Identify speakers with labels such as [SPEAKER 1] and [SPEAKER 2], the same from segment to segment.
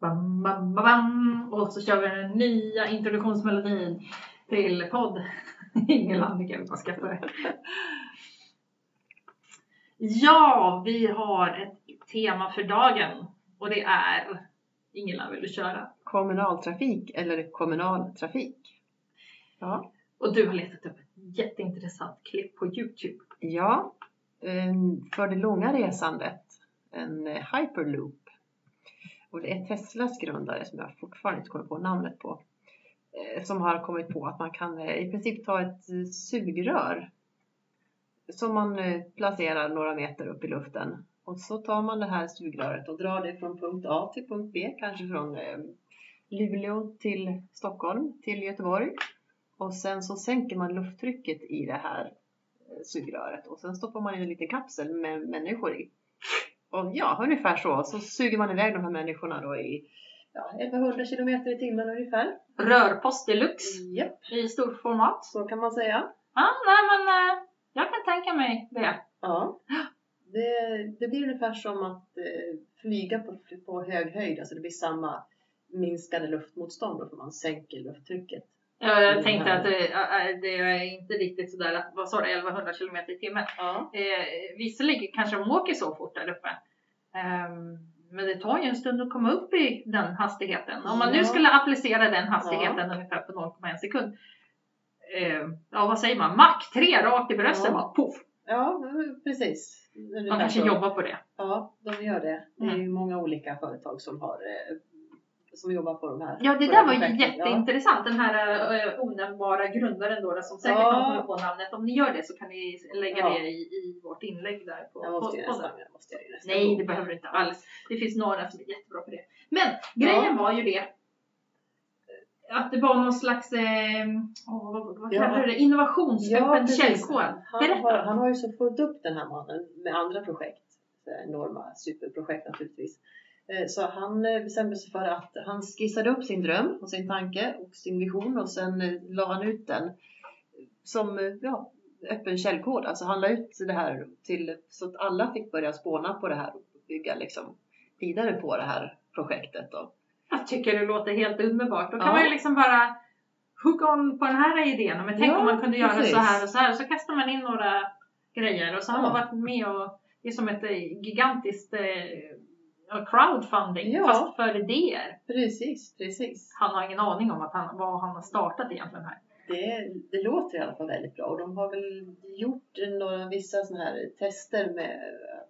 [SPEAKER 1] Bam, bam, bam, bam. Och så kör vi den nya introduktionsmelodin till podd. Ingen Annika, vad skrattar det? Ja, vi har ett tema för dagen och det är Ingela, vill du köra?
[SPEAKER 2] Kommunaltrafik eller kommunal trafik. Ja,
[SPEAKER 1] Och du har letat upp ett jätteintressant klipp på Youtube.
[SPEAKER 2] ja. eh, för det långa resandet, en eh, hyperloop. Och det är Teslas grundare som jag fortfarande inte kommer på namnet på. eh, Som har kommit på att man kan eh, i princip ta ett eh, sugrör som man eh, placerar några meter upp i luften. Och så tar man det här sugröret och drar det från punkt A till punkt B, kanske från eh, Luleå till Stockholm, till Göteborg. Och sen så sänker man lufttrycket i det här eh, sugröret och sen stoppar man in en liten kapsel med människor i. Och ja, ungefär så. Så suger man iväg de här människorna då i ja, 1100 kilometer i timmen ungefär.
[SPEAKER 1] Rörpost deluxe
[SPEAKER 2] Japp,
[SPEAKER 1] i stort format.
[SPEAKER 2] så kan man säga.
[SPEAKER 1] Ah, nej men eh, jag kan tänka mig det.
[SPEAKER 2] Ja. Det, det blir ungefär som att eh, flyga på, på hög höjd, alltså det blir samma minskade luftmotstånd då för man sänker lufttrycket.
[SPEAKER 1] Jag
[SPEAKER 2] Mm.
[SPEAKER 1] tänkte att det, eh, eh, det är inte riktigt sådär att, vad sa du, 1100 kilometer i timmen?
[SPEAKER 2] Ja.
[SPEAKER 1] Eh, visserligen kanske de åker så fort där uppe. Ehm, men det tar ju en stund att komma upp i den hastigheten. Om man nu
[SPEAKER 2] Ja.
[SPEAKER 1] skulle applicera den hastigheten ungefär på 0,1 sekund. Ehm, ja, vad säger man? Mack 3 rakt i bröstet
[SPEAKER 2] Ja.
[SPEAKER 1] bara poff!
[SPEAKER 2] ja, precis.
[SPEAKER 1] De
[SPEAKER 2] Ungefär
[SPEAKER 1] kanske
[SPEAKER 2] så.
[SPEAKER 1] jobbar på det.
[SPEAKER 2] Ja, de gör det. Det är
[SPEAKER 1] Mm.
[SPEAKER 2] ju många olika företag som, har, eh, som jobbar på de här.
[SPEAKER 1] Ja, det
[SPEAKER 2] på
[SPEAKER 1] där
[SPEAKER 2] de
[SPEAKER 1] var
[SPEAKER 2] här
[SPEAKER 1] ju
[SPEAKER 2] projekten.
[SPEAKER 1] jätteintressant. Den här eh, onämnbara grundaren då, som säkert
[SPEAKER 2] Ja.
[SPEAKER 1] någon kommer på namnet. Om ni gör det så kan ni lägga
[SPEAKER 2] Ja.
[SPEAKER 1] det i, i vårt inlägg där på
[SPEAKER 2] Ja. Jag måste ju
[SPEAKER 1] podden.
[SPEAKER 2] nästan, jag måste ju nästan.
[SPEAKER 1] Nej, det behöver du inte alls. Det finns några som är jättebra på det. Men grejen var ju det att det var någon slags, eh, åh, vad, vad
[SPEAKER 2] Ja.
[SPEAKER 1] kallar du det, innovationsöppen
[SPEAKER 2] precis.
[SPEAKER 1] källkod.
[SPEAKER 2] Han
[SPEAKER 1] Berätta.
[SPEAKER 2] har, han har ju så fullt upp den här mannen med andra projekt. Så här Enorma superprojekt naturligtvis. Eh, Så han eh, bestämde sig för att han skissade upp sin dröm och sin tanke och sin vision och sen eh, la han ut den som eh, ja, öppen källkod. Alltså han la ut det här till, så att alla fick börja spåna på det här och bygga liksom vidare på det här projektet. Då.
[SPEAKER 1] Jag tycker det låter helt underbart. Då kan
[SPEAKER 2] Ja.
[SPEAKER 1] man ju liksom bara hook on på den här idén. Men tänk
[SPEAKER 2] Ja,
[SPEAKER 1] om man kunde göra
[SPEAKER 2] precis.
[SPEAKER 1] så här och så här. Och så kastar man in några grejer och så har
[SPEAKER 2] Ja.
[SPEAKER 1] man varit med och det är som ett eh, gigantiskt eh, ja, crowdfunding
[SPEAKER 2] Ja.
[SPEAKER 1] fast för idéer.
[SPEAKER 2] Precis, precis.
[SPEAKER 1] Han har ingen aning om att han, vad han har startat egentligen här.
[SPEAKER 2] Det, det låter i alla fall väldigt bra och de har väl gjort några vissa såna här tester med,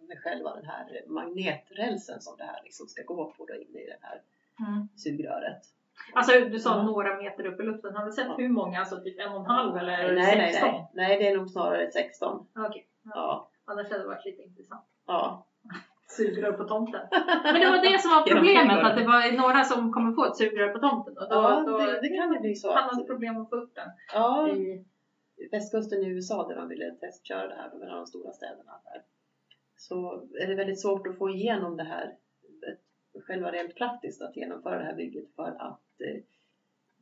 [SPEAKER 2] med själva den här magneträlsen som det här liksom ska gå på då in i det här sugröret.
[SPEAKER 1] Alltså du sa
[SPEAKER 2] Ja.
[SPEAKER 1] några meter upp i luften. Har du sett
[SPEAKER 2] Mm. Ja.
[SPEAKER 1] hur många? Alltså typ en och en halv eller
[SPEAKER 2] nej, nej,
[SPEAKER 1] 16?
[SPEAKER 2] nej, nej, det är nog snarare 16.
[SPEAKER 1] Okej,
[SPEAKER 2] Ja,
[SPEAKER 1] annars hade det varit lite intressant.
[SPEAKER 2] ja.
[SPEAKER 1] Sugrör på tomten. Men det var det som var
[SPEAKER 2] Genom
[SPEAKER 1] problemet,
[SPEAKER 2] trädgården.
[SPEAKER 1] att det var några som kommer på ett sugrör på tomten. Och då,
[SPEAKER 2] ja
[SPEAKER 1] då
[SPEAKER 2] det, det kan ju bli så.
[SPEAKER 1] hade
[SPEAKER 2] Att,
[SPEAKER 1] man problem att få upp den.
[SPEAKER 2] ja,
[SPEAKER 1] I,
[SPEAKER 2] västkusten i USA där de ville testköra det här mellan de stora städerna där. Så är det väldigt svårt att få igenom det här eh, själva rent praktiskt att genomföra det här bygget för att eh,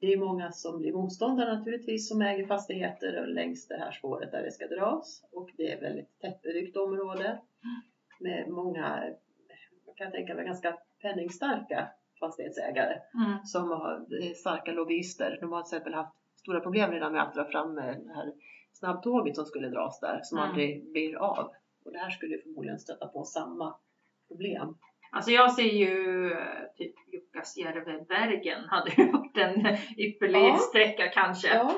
[SPEAKER 2] det är många som blir motståndare naturligtvis som äger fastigheter och längs det här spåret där det ska dras och det är väldigt tättbebyggt område med många, eh, jag kan tänka mig ganska penningstarka fastighetsägare
[SPEAKER 1] mm.
[SPEAKER 2] som har eh, starka lobbyister. De har till exempel haft stora problem redan med att dra fram eh, det här snabbtåget som skulle dras där som
[SPEAKER 1] Mm.
[SPEAKER 2] aldrig blir av. Och det här skulle ju förmodligen stöta på samma problem.
[SPEAKER 1] Alltså jag ser ju eh, typ Jukkasjärvi-Bergen hade ju varit en ypperlig
[SPEAKER 2] Ja.
[SPEAKER 1] sträcka kanske.
[SPEAKER 2] Ja,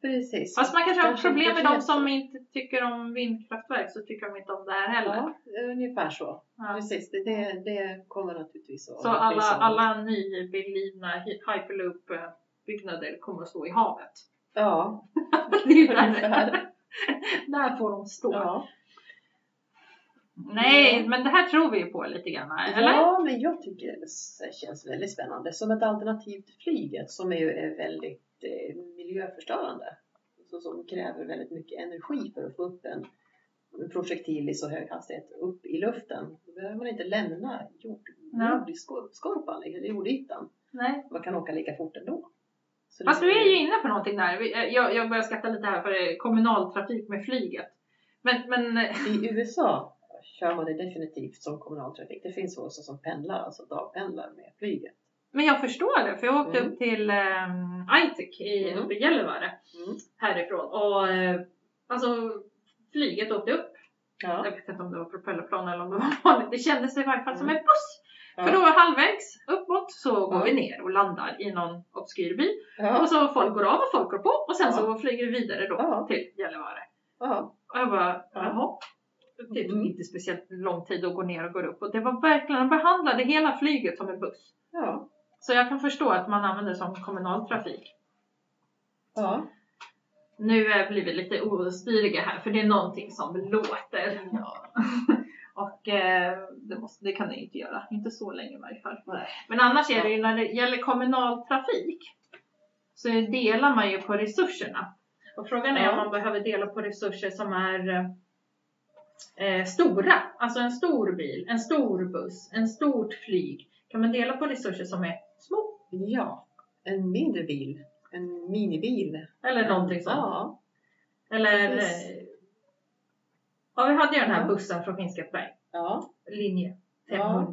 [SPEAKER 2] precis.
[SPEAKER 1] Fast man kanske har
[SPEAKER 2] Kanske
[SPEAKER 1] problem
[SPEAKER 2] inte
[SPEAKER 1] med de
[SPEAKER 2] helt
[SPEAKER 1] som
[SPEAKER 2] så.
[SPEAKER 1] inte tycker om vindkraftverk så tycker de inte om det här heller.
[SPEAKER 2] Ja, ungefär så.
[SPEAKER 1] Ja.
[SPEAKER 2] Precis, det, det, det kommer naturligtvis att...
[SPEAKER 1] Så alla,
[SPEAKER 2] liksom-
[SPEAKER 1] alla nyblivna hy- hyperloop-byggnader kommer att stå i havet.
[SPEAKER 2] Ja,
[SPEAKER 1] Det är ju där,
[SPEAKER 2] ungefär.
[SPEAKER 1] där får de stå.
[SPEAKER 2] Ja.
[SPEAKER 1] Nej, men det här tror vi ju på lite grann, eller?
[SPEAKER 2] ja, men jag tycker det s- känns väldigt spännande. Som ett alternativ till flyget som är ju är väldigt eh, miljöförstörande. Så, som kräver väldigt mycket energi för att få upp en en projektil i så hög hastighet upp i luften. Då behöver man inte lämna jord,
[SPEAKER 1] Nej.
[SPEAKER 2] jordskorpan eller jordytan.
[SPEAKER 1] Nej.
[SPEAKER 2] Man kan åka lika fort ändå. Så
[SPEAKER 1] Fast
[SPEAKER 2] det-
[SPEAKER 1] du är ju inne på någonting där. Vi- eh, Jag, jag eh, börjar skratta lite här för det är kommunaltrafik med flyget. Men, men eh,
[SPEAKER 2] I USA kör man det definitivt som kommunaltrafik. Det finns också som pendlar, alltså dagpendlar med flyget.
[SPEAKER 1] Men jag förstår det, för jag åkte
[SPEAKER 2] Mm.
[SPEAKER 1] upp till um, Aitik i
[SPEAKER 2] Mm.
[SPEAKER 1] uppe i Gällivare
[SPEAKER 2] Mm.
[SPEAKER 1] härifrån och eh, alltså flyget åkte upp.
[SPEAKER 2] Ja.
[SPEAKER 1] Jag vet inte om det var propellerplan eller om det var vanligt. Det kändes i varje fall som en buss.
[SPEAKER 2] Mm. Ja.
[SPEAKER 1] För då halvvägs uppåt så går
[SPEAKER 2] Ja.
[SPEAKER 1] vi ner och landar i någon obskyr by.
[SPEAKER 2] Ja.
[SPEAKER 1] Och så folk går av och folk går på och sen
[SPEAKER 2] Ja.
[SPEAKER 1] så flyger vi vidare då
[SPEAKER 2] Ja.
[SPEAKER 1] till Gällivare.
[SPEAKER 2] Ja.
[SPEAKER 1] Och jag bara,
[SPEAKER 2] Ja.
[SPEAKER 1] jaha. Det tog
[SPEAKER 2] Mm.
[SPEAKER 1] inte speciellt lång tid att gå ner och gå upp och det var verkligen, de behandlade hela flyget som en buss.
[SPEAKER 2] Ja.
[SPEAKER 1] Så jag kan förstå att man använder det som kommunal trafik.
[SPEAKER 2] Ja.
[SPEAKER 1] Nu eh, blir vi lite ostyriga här för det är någonting som låter. Och eh, det, måste, det kan det inte göra, inte så länge i varje fall.
[SPEAKER 2] Nej.
[SPEAKER 1] Men annars är det ju när det gäller kommunal trafik så delar man ju på resurserna. Och frågan är
[SPEAKER 2] Ja.
[SPEAKER 1] om man behöver dela på resurser som är eh, stora, alltså en stor bil, en stor buss, en stort flyg. Kan man dela på resurser som är små
[SPEAKER 2] ja. En mindre bil. En minibil.
[SPEAKER 1] eller någonting sånt?
[SPEAKER 2] Ja.
[SPEAKER 1] Eller...
[SPEAKER 2] Precis.
[SPEAKER 1] eh, Ja, vi hade ju den här
[SPEAKER 2] Ja.
[SPEAKER 1] bussen från Skinnskatteberg.
[SPEAKER 2] Ja.
[SPEAKER 1] Linje 500.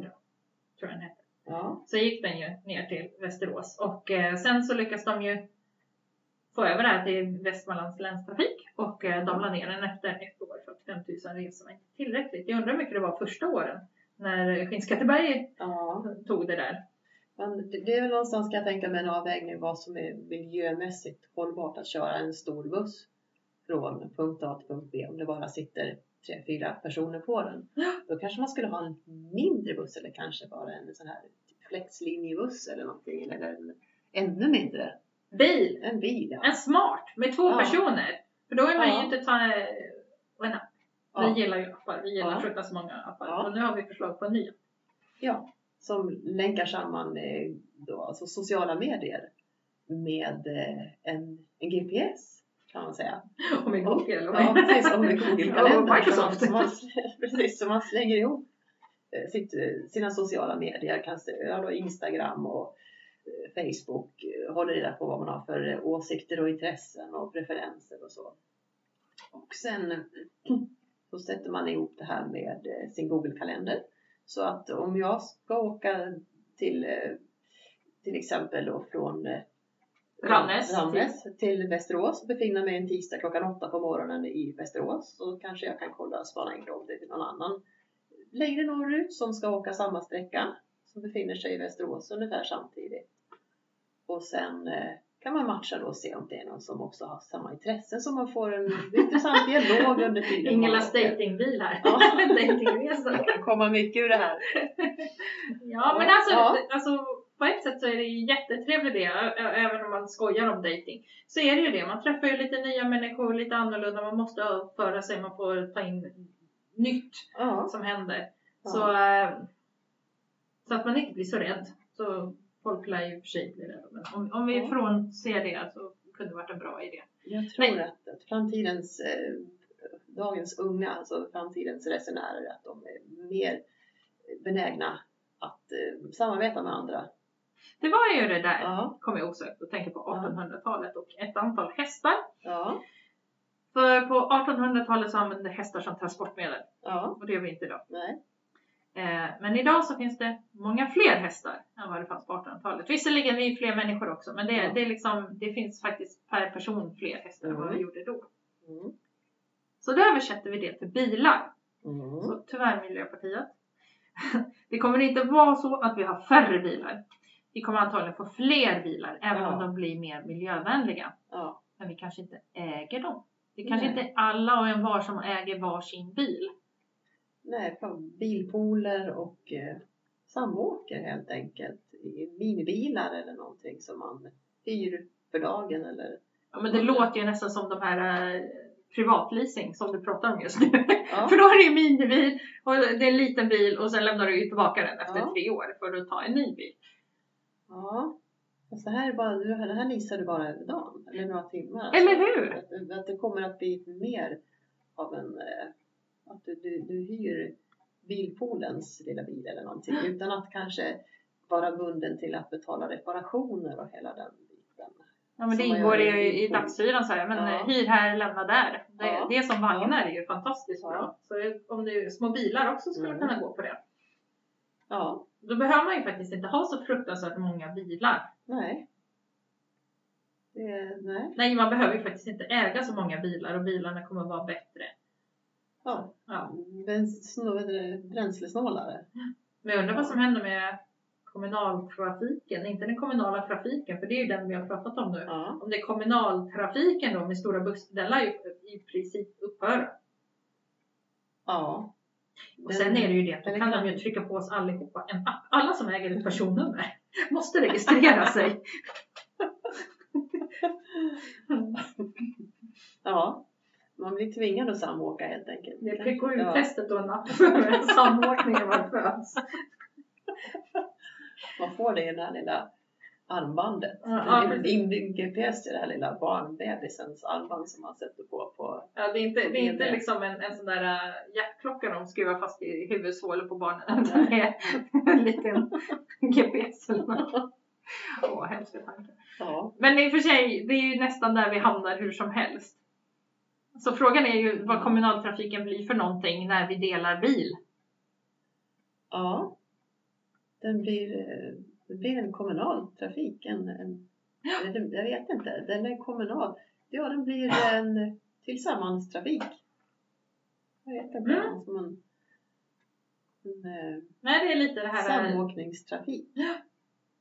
[SPEAKER 1] Tror jag den hette.
[SPEAKER 2] Ja.
[SPEAKER 1] Så gick den ju ner till Västerås. Och eh, sen så lyckas de ju få över det här till Västmanlands länstrafik. Och eh, de la ner den efter ett år. 45 000 resor var inte tillräckligt. Jag undrar hur mycket det var första åren. När Skinnskatteberg
[SPEAKER 2] ja.
[SPEAKER 1] tog det där.
[SPEAKER 2] Men det det är väl någonstans kan jag tänka mig en avvägning vad som är miljömässigt hållbart att köra en stor buss från punkt A till punkt B om det bara sitter tre, fyra personer på den. Då kanske man skulle ha en mindre buss eller kanske bara en sån här typ flexlinjebuss eller någonting eller en ännu mindre,
[SPEAKER 1] Bil!
[SPEAKER 2] en bil. Ja.
[SPEAKER 1] En smart med två
[SPEAKER 2] Ja.
[SPEAKER 1] personer. För då är man
[SPEAKER 2] Ja.
[SPEAKER 1] ju inte ta... Och en
[SPEAKER 2] Ja,
[SPEAKER 1] Vi gillar ju appar, vi gillar
[SPEAKER 2] Ja.
[SPEAKER 1] fruktansvärt många appar.
[SPEAKER 2] Ja.
[SPEAKER 1] Och nu har vi förslag på en ny.
[SPEAKER 2] ja, som länkar samman eh, då, alltså sociala medier med eh, en, en GPS kan man säga.
[SPEAKER 1] Om en Google eller
[SPEAKER 2] Ja,
[SPEAKER 1] vad?
[SPEAKER 2] precis. Och med Google-kalendern.
[SPEAKER 1] Och Microsoft.
[SPEAKER 2] Så man, precis, så man slänger ihop eh, sitt, eh, sina sociala medier, kan se, ja, då Instagram och eh, Facebook, eh, håller reda på vad man har för eh, åsikter och intressen och preferenser och så. Och sen eh, så sätter man ihop det här med eh, sin Google-kalender. Så att om jag ska åka till eh, till exempel då från eh,
[SPEAKER 1] Ramnäs.
[SPEAKER 2] Ramnäs till Västerås och befinna mig en tisdag klockan åtta på morgonen i Västerås så kanske jag kan kolla och spana in om det är någon annan längre norrut som ska åka samma sträcka som befinner sig i Västerås ungefär samtidigt. Och sen eh, kan man matcha då och se om det är någon som också har samma intressen så man får en intressant dialog under tiden.
[SPEAKER 1] Ingelas
[SPEAKER 2] man åker.
[SPEAKER 1] datingbil här.
[SPEAKER 2] Ja.
[SPEAKER 1] Datingresa.
[SPEAKER 2] Det kan komma mycket ur det här.
[SPEAKER 1] Ja men alltså,
[SPEAKER 2] Ja.
[SPEAKER 1] alltså på ett sätt så är det ju jättetrevlig det. ä- ä- Även om man skojar om dating. Så är det ju det. Man träffar ju lite nya människor, lite annorlunda. Man måste uppföra sig, man får ta in nytt
[SPEAKER 2] Ja.
[SPEAKER 1] som händer.
[SPEAKER 2] Ja.
[SPEAKER 1] Så, eh, så att man inte blir så rädd. Så folk lär ju i och för sig bli rädda. Men om, om vi
[SPEAKER 2] Ja.
[SPEAKER 1] från ser det så kunde det varit en bra idé.
[SPEAKER 2] Jag tror
[SPEAKER 1] Nej.
[SPEAKER 2] att, att framtidens, eh, dagens unga, alltså framtidens resenärer, att de är mer benägna att eh, samarbeta med andra.
[SPEAKER 1] Det var ju det där,
[SPEAKER 2] Ja,
[SPEAKER 1] kom jag osökt att tänka på
[SPEAKER 2] Ja.
[SPEAKER 1] 1800-talet och ett antal hästar.
[SPEAKER 2] ja,
[SPEAKER 1] För på 1800-talet så använde hästar som transportmedel
[SPEAKER 2] ja,
[SPEAKER 1] och det gör vi inte idag.
[SPEAKER 2] nej,
[SPEAKER 1] Eh, men idag så finns det många fler hästar än vad det fanns på 1800-talet. Visserligen vi är fler människor också men det,
[SPEAKER 2] Ja.
[SPEAKER 1] det, är liksom, det finns faktiskt per person fler hästar än vad vi
[SPEAKER 2] Mm.
[SPEAKER 1] gjorde då.
[SPEAKER 2] mm.
[SPEAKER 1] Så då översätter vi det till bilar.
[SPEAKER 2] Mm.
[SPEAKER 1] Så tyvärr Miljöpartiet. Det kommer inte vara så att vi har färre bilar. Vi kommer antagligen få fler bilar även om
[SPEAKER 2] Ja.
[SPEAKER 1] de blir mer miljövänliga.
[SPEAKER 2] ja,
[SPEAKER 1] Men vi kanske inte äger dem. Det kanske
[SPEAKER 2] Nej.
[SPEAKER 1] inte är alla och en var som äger varsin bil.
[SPEAKER 2] nej, fan, bilpooler och eh, samåker helt enkelt. I Minibilar eller någonting som man hyr för dagen eller
[SPEAKER 1] Ja, men det
[SPEAKER 2] Mm.
[SPEAKER 1] låter ju nästan som de här eh, privatleasing som du pratar om just nu.
[SPEAKER 2] ja,
[SPEAKER 1] För då är det ju minibil och det är en liten bil och sen lämnar du ju tillbaka den efter
[SPEAKER 2] Ja.
[SPEAKER 1] tre år för att ta en ny bil.
[SPEAKER 2] ja. Fast det här, är bara, det här det här leasar du bara över dagen eller några timmar. alltså.
[SPEAKER 1] Eller hur?
[SPEAKER 2] Att, att det kommer att bli mer av en... eh, Att du, du, du hyr bilpoolens lilla bil eller någonting utan att kanske vara bunden till att betala reparationer och hela den biten.
[SPEAKER 1] Ja men det
[SPEAKER 2] Som man
[SPEAKER 1] ingår
[SPEAKER 2] gör
[SPEAKER 1] i, i
[SPEAKER 2] i-
[SPEAKER 1] dagshyran så här, men
[SPEAKER 2] Ja.
[SPEAKER 1] eh, hyr här, lämna där. Det,
[SPEAKER 2] Ja.
[SPEAKER 1] det som vagnar är ju fantastiskt
[SPEAKER 2] Ja.
[SPEAKER 1] bra. Så det- om det är små bilar också skulle
[SPEAKER 2] Mm.
[SPEAKER 1] kunna gå på det.
[SPEAKER 2] Ja,
[SPEAKER 1] Då behöver man ju faktiskt inte ha så fruktansvärt många bilar.
[SPEAKER 2] nej. Det, nej.
[SPEAKER 1] Nej, man behöver ju faktiskt inte äga så många bilar och bilarna kommer vara bättre.
[SPEAKER 2] Ja.
[SPEAKER 1] Ja.
[SPEAKER 2] Bens, snå- vad heter det? bränslesnålare.
[SPEAKER 1] Men jag undrar vad som händer med kommunaltrafiken, inte den kommunala trafiken, för det är ju den vi har pratat om nu.
[SPEAKER 2] Ja.
[SPEAKER 1] Om det är kommunaltrafiken då med stora bussar, den lär ju i princip upphöra.
[SPEAKER 2] ja.
[SPEAKER 1] Och sen är det ju det att då
[SPEAKER 2] Eller
[SPEAKER 1] kan
[SPEAKER 2] kan-
[SPEAKER 1] de ju trycka på oss allihopa en app. Alla som äger ett personnummer måste registrera sig.
[SPEAKER 2] Ja. Man blir tvingad att samåka helt enkelt.
[SPEAKER 1] Det är
[SPEAKER 2] Kanske- ja.
[SPEAKER 1] PKU-testet och en app för samåkning när man föds.
[SPEAKER 2] Man får det i det här lilla armbandet.
[SPEAKER 1] Ja,
[SPEAKER 2] det är
[SPEAKER 1] precis.
[SPEAKER 2] inbyggd GPS i det här lilla barnbebisens armband som man sätter på. på.
[SPEAKER 1] Ja, det är inte, det är
[SPEAKER 2] Det är
[SPEAKER 1] inte
[SPEAKER 2] det.
[SPEAKER 1] liksom en, en sån där äh, hjärtklocka de skruvar fast i huvudsvålen på barnen. utan Det är en liten GPS eller något. Åh, hemska tankar.
[SPEAKER 2] Ja.
[SPEAKER 1] Men i och för sig, det är ju nästan där vi hamnar hur som helst. Så frågan är ju vad kommunaltrafiken blir för någonting när vi delar bil.
[SPEAKER 2] ja. Den blir, eh, det blir en kommunal trafik. En, en, eller, jag vet inte. Den är kommunal. Ja, den blir en tillsammanstrafik. Jag vet inte.
[SPEAKER 1] Mm.
[SPEAKER 2] Som en, en eh,
[SPEAKER 1] Nej, det är lite det här äh,
[SPEAKER 2] samåkningstrafik.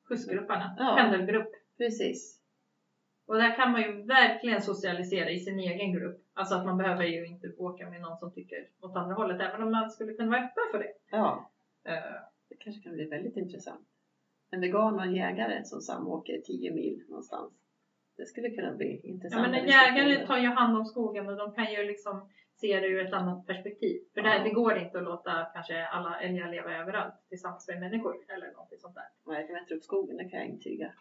[SPEAKER 1] skjutsgrupperna,
[SPEAKER 2] Ja.
[SPEAKER 1] pendelgrupp.
[SPEAKER 2] Precis.
[SPEAKER 1] Och där kan man ju verkligen socialisera i sin egen grupp. Alltså att man behöver ju inte åka med någon som tycker åt andra hållet, även om man skulle kunna vara öppen för det.
[SPEAKER 2] Ja.
[SPEAKER 1] Eh,
[SPEAKER 2] Det kanske kan bli väldigt intressant. En vegan och en jägare som samåker 10 mil någonstans. Det skulle kunna bli
[SPEAKER 1] Ja,
[SPEAKER 2] intressant.
[SPEAKER 1] men en jägare tar ju hand om skogen och de kan ju liksom se det ur ett annat perspektiv. För det,
[SPEAKER 2] Ja.
[SPEAKER 1] det går inte att låta kanske alla älgar leva överallt tillsammans med människor eller någonting sånt där.
[SPEAKER 2] Nej, de äter upp skogen, det kan jag intyga.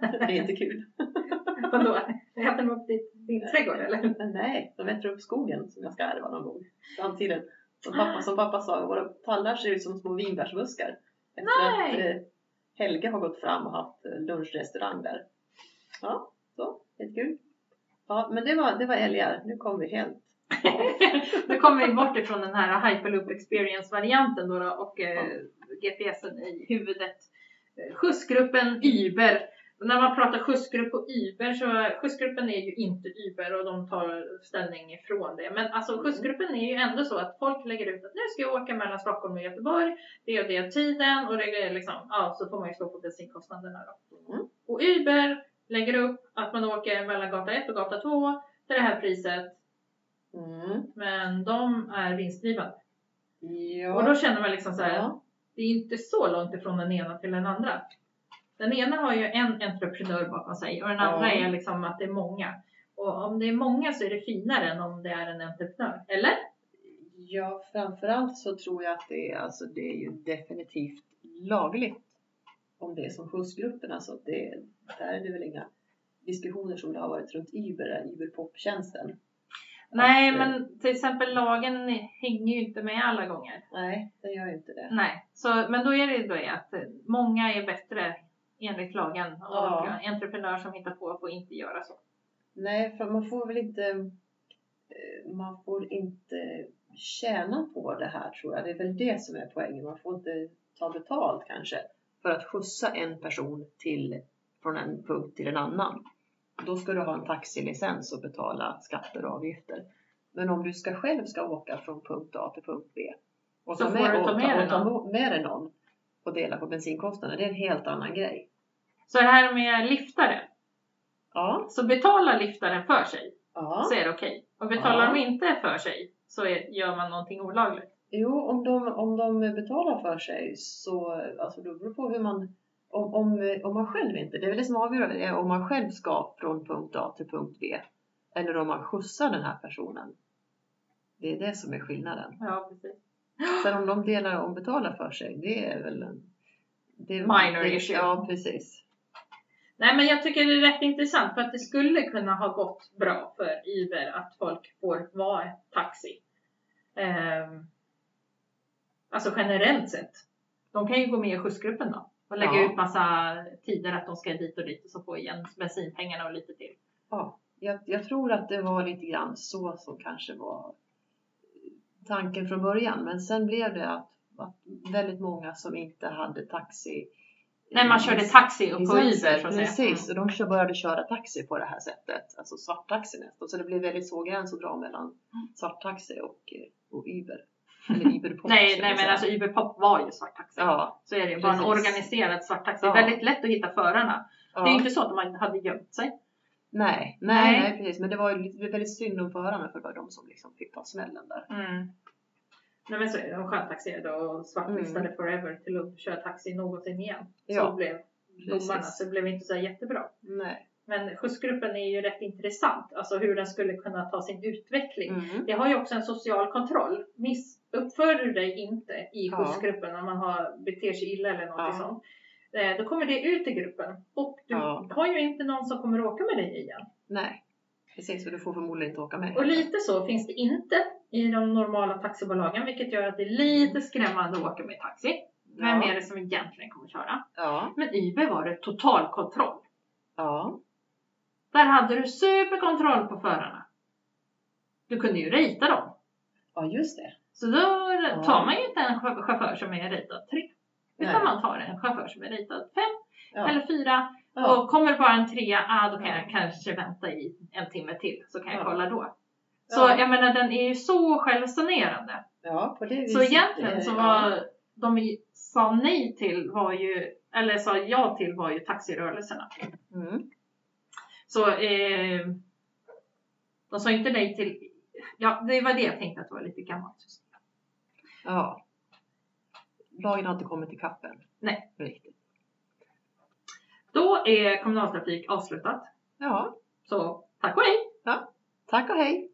[SPEAKER 2] Det är inte kul.
[SPEAKER 1] Vadå? Äter de upp ditt- din trädgård eller?
[SPEAKER 2] Men nej, de äter upp skogen som jag ska ärva någon gång. Framtiden. Som pappa, som pappa sa, våra tallar ser ut som små vinbärsbuskar. Efter
[SPEAKER 1] Nej!
[SPEAKER 2] att eh, Helge har gått fram och haft eh, lunchrestaurang där. Ja, så, jättekul. Ja, men det var, det var älgar. Nu kom vi helt.
[SPEAKER 1] nu kommer vi bort ifrån den här hyperloop experience-varianten då, då och eh, GPSen i huvudet. Eh, Skjutsgruppen Uber. Och När man pratar skjutsgrupp och Uber så skjutsgruppen är ju inte Uber och de tar ställning ifrån det. Men alltså
[SPEAKER 2] Mm.
[SPEAKER 1] skjutsgruppen är ju ändå så att folk lägger ut att nu ska jag åka mellan Stockholm och Göteborg. Det och det är tiden och det är liksom, ja så får man ju stå på bensinkostnaderna då.
[SPEAKER 2] Mm.
[SPEAKER 1] Och Uber lägger upp att man åker mellan gata 1 och gata 2 till det här priset.
[SPEAKER 2] Mm.
[SPEAKER 1] Men de är vinstdrivande.
[SPEAKER 2] Ja.
[SPEAKER 1] Och då känner man liksom så här,
[SPEAKER 2] Ja.
[SPEAKER 1] det är ju inte så långt ifrån den ena till den andra. Den ena har ju en entreprenör bakom sig och den andra
[SPEAKER 2] Ja.
[SPEAKER 1] är liksom att det är många. Och om det är många så är det finare än om det är en entreprenör. Eller?
[SPEAKER 2] Ja, framförallt så tror jag att det är, alltså det är ju definitivt lagligt om det är som skjutsgrupperna. Så att det, där är det väl inga diskussioner som det har varit runt Uber, Uber-poptjänsten.
[SPEAKER 1] Nej,
[SPEAKER 2] det-
[SPEAKER 1] men till exempel lagen hänger ju inte med alla gånger.
[SPEAKER 2] Nej, det gör ju inte det.
[SPEAKER 1] Nej, så, men då är det ju då det att eh, många är bättre enligt lagen och
[SPEAKER 2] Ja.
[SPEAKER 1] entreprenör som hittar på får inte göra så.
[SPEAKER 2] Nej, för man får väl inte, eh, man får inte tjäna på det här tror jag. Det är väl det som är poängen. Man får inte ta betalt kanske för att skjutsa en person till, från en punkt till en annan. Då ska du ha en taxilicens och betala skatter och avgifter. Men om du ska själv ska åka från punkt A till punkt B och
[SPEAKER 1] Så
[SPEAKER 2] ta
[SPEAKER 1] får du
[SPEAKER 2] med,
[SPEAKER 1] ta
[SPEAKER 2] och,
[SPEAKER 1] med
[SPEAKER 2] ta,
[SPEAKER 1] dig
[SPEAKER 2] och ta med dig någon och dela på bensinkostnaden, det är en helt annan grej.
[SPEAKER 1] Så det här med liftare,
[SPEAKER 2] Ja,
[SPEAKER 1] så betalar liftaren för sig.
[SPEAKER 2] ja.
[SPEAKER 1] så är det okej. Och betalar
[SPEAKER 2] Ja.
[SPEAKER 1] de inte för sig så är, gör man någonting olagligt.
[SPEAKER 2] Jo, om de, om de betalar för sig så alltså det beror det på hur man om, om, om man själv inte, det är väl det som avgör är om man själv ska från punkt A till punkt B eller om man skjutsar den här personen. Det är det som är skillnaden.
[SPEAKER 1] Ja, precis.
[SPEAKER 2] Sen om de delar och betalar för sig, det är väl en... Det är
[SPEAKER 1] Minor
[SPEAKER 2] det,
[SPEAKER 1] issue.
[SPEAKER 2] Ja, precis.
[SPEAKER 1] Nej, men jag tycker det är rätt intressant för att det skulle kunna ha gått bra för Uber att folk får vara taxi. Ehm, alltså generellt sett. De kan ju gå med i skjutsgruppen då. Och lägga
[SPEAKER 2] Ja.
[SPEAKER 1] ut massa tider att de ska dit och dit och så få igen bensinpengarna och lite till.
[SPEAKER 2] Ja, jag, jag tror att det var lite grann så som kanske var tanken från början. Men sen blev det att, att väldigt många som inte hade taxi.
[SPEAKER 1] Nej, man körde taxi och på Uber så att säga. Mm.
[SPEAKER 2] Precis, och de kö- började köra taxi på det här sättet. Alltså svarttaxi nästan. Så det blev väldigt svår gräns att dra mellan svarttaxi och, eh, och Uber. Eller Uber
[SPEAKER 1] Mm. Nej, nej men alltså Uber Pop var ju svarttaxi.
[SPEAKER 2] Ja,
[SPEAKER 1] Så är det ju. Bara en
[SPEAKER 2] Precis.
[SPEAKER 1] organiserad svarttaxi.
[SPEAKER 2] Ja.
[SPEAKER 1] Det är väldigt lätt att hitta förarna.
[SPEAKER 2] ja.
[SPEAKER 1] Det är ju inte så att de hade gömt sig.
[SPEAKER 2] nej, nej,
[SPEAKER 1] Nej.
[SPEAKER 2] nej, precis. Men det var ju lite- väldigt synd om förarna för det var de som liksom fick ta smällen där.
[SPEAKER 1] Mm. Nej men så är det. De skönstaxerade och svartlistade forever till att köra taxi någonsin igen. Så
[SPEAKER 2] Ja,
[SPEAKER 1] blev domarna.
[SPEAKER 2] precis.
[SPEAKER 1] Så det blev inte så här jättebra.
[SPEAKER 2] Nej.
[SPEAKER 1] Men skjutsgruppen är ju rätt intressant. Alltså hur den skulle kunna ta sin utveckling.
[SPEAKER 2] Mm.
[SPEAKER 1] Det har ju också en social kontroll. Miss, uppför du dig inte i
[SPEAKER 2] Ja.
[SPEAKER 1] skjutsgruppen om man har, beter sig illa eller något
[SPEAKER 2] Ja.
[SPEAKER 1] sånt. eh, Då kommer det ut i gruppen och du
[SPEAKER 2] Ja.
[SPEAKER 1] har ju inte någon som kommer åka med dig igen.
[SPEAKER 2] Nej, precis. Och du får förmodligen inte åka med.
[SPEAKER 1] Och lite så finns det inte i de normala taxibolagen vilket gör att det är lite skrämmande att åka med taxi. Vem
[SPEAKER 2] ja.
[SPEAKER 1] är det som egentligen kommer köra?
[SPEAKER 2] Ja,
[SPEAKER 1] Men Uber var det total kontroll.
[SPEAKER 2] ja,
[SPEAKER 1] Där hade du superkontroll på förarna. Du kunde ju rita dem.
[SPEAKER 2] ja, just det.
[SPEAKER 1] Så då tar man ju inte en chauff- chaufför som är ritad 3. Utan
[SPEAKER 2] Nej.
[SPEAKER 1] man tar en chaufför som är ritad 5
[SPEAKER 2] Ja.
[SPEAKER 1] eller 4.
[SPEAKER 2] ja.
[SPEAKER 1] Och kommer bara en 3, ah, då kan jag
[SPEAKER 2] Ja.
[SPEAKER 1] kanske vänta i en timme till. Så kan jag
[SPEAKER 2] Ja.
[SPEAKER 1] kolla då. Så
[SPEAKER 2] Ja.
[SPEAKER 1] jag menar den är ju så självsanerande.
[SPEAKER 2] ja på det viset.
[SPEAKER 1] Så egentligen så
[SPEAKER 2] eh,
[SPEAKER 1] var de ju- sa nej till var ju, eller sa ja till var ju taxirörelserna.
[SPEAKER 2] ja. Mm.
[SPEAKER 1] Så eh, de sa inte nej till, ja det var det jag tänkte att det var lite gammalt.
[SPEAKER 2] Ja. Lagen har inte kommit ikapp än.
[SPEAKER 1] Nej.
[SPEAKER 2] Riktigt.
[SPEAKER 1] Då är kommunaltrafik avslutat.
[SPEAKER 2] Ja,
[SPEAKER 1] Så tack och hej!
[SPEAKER 2] tack och hej.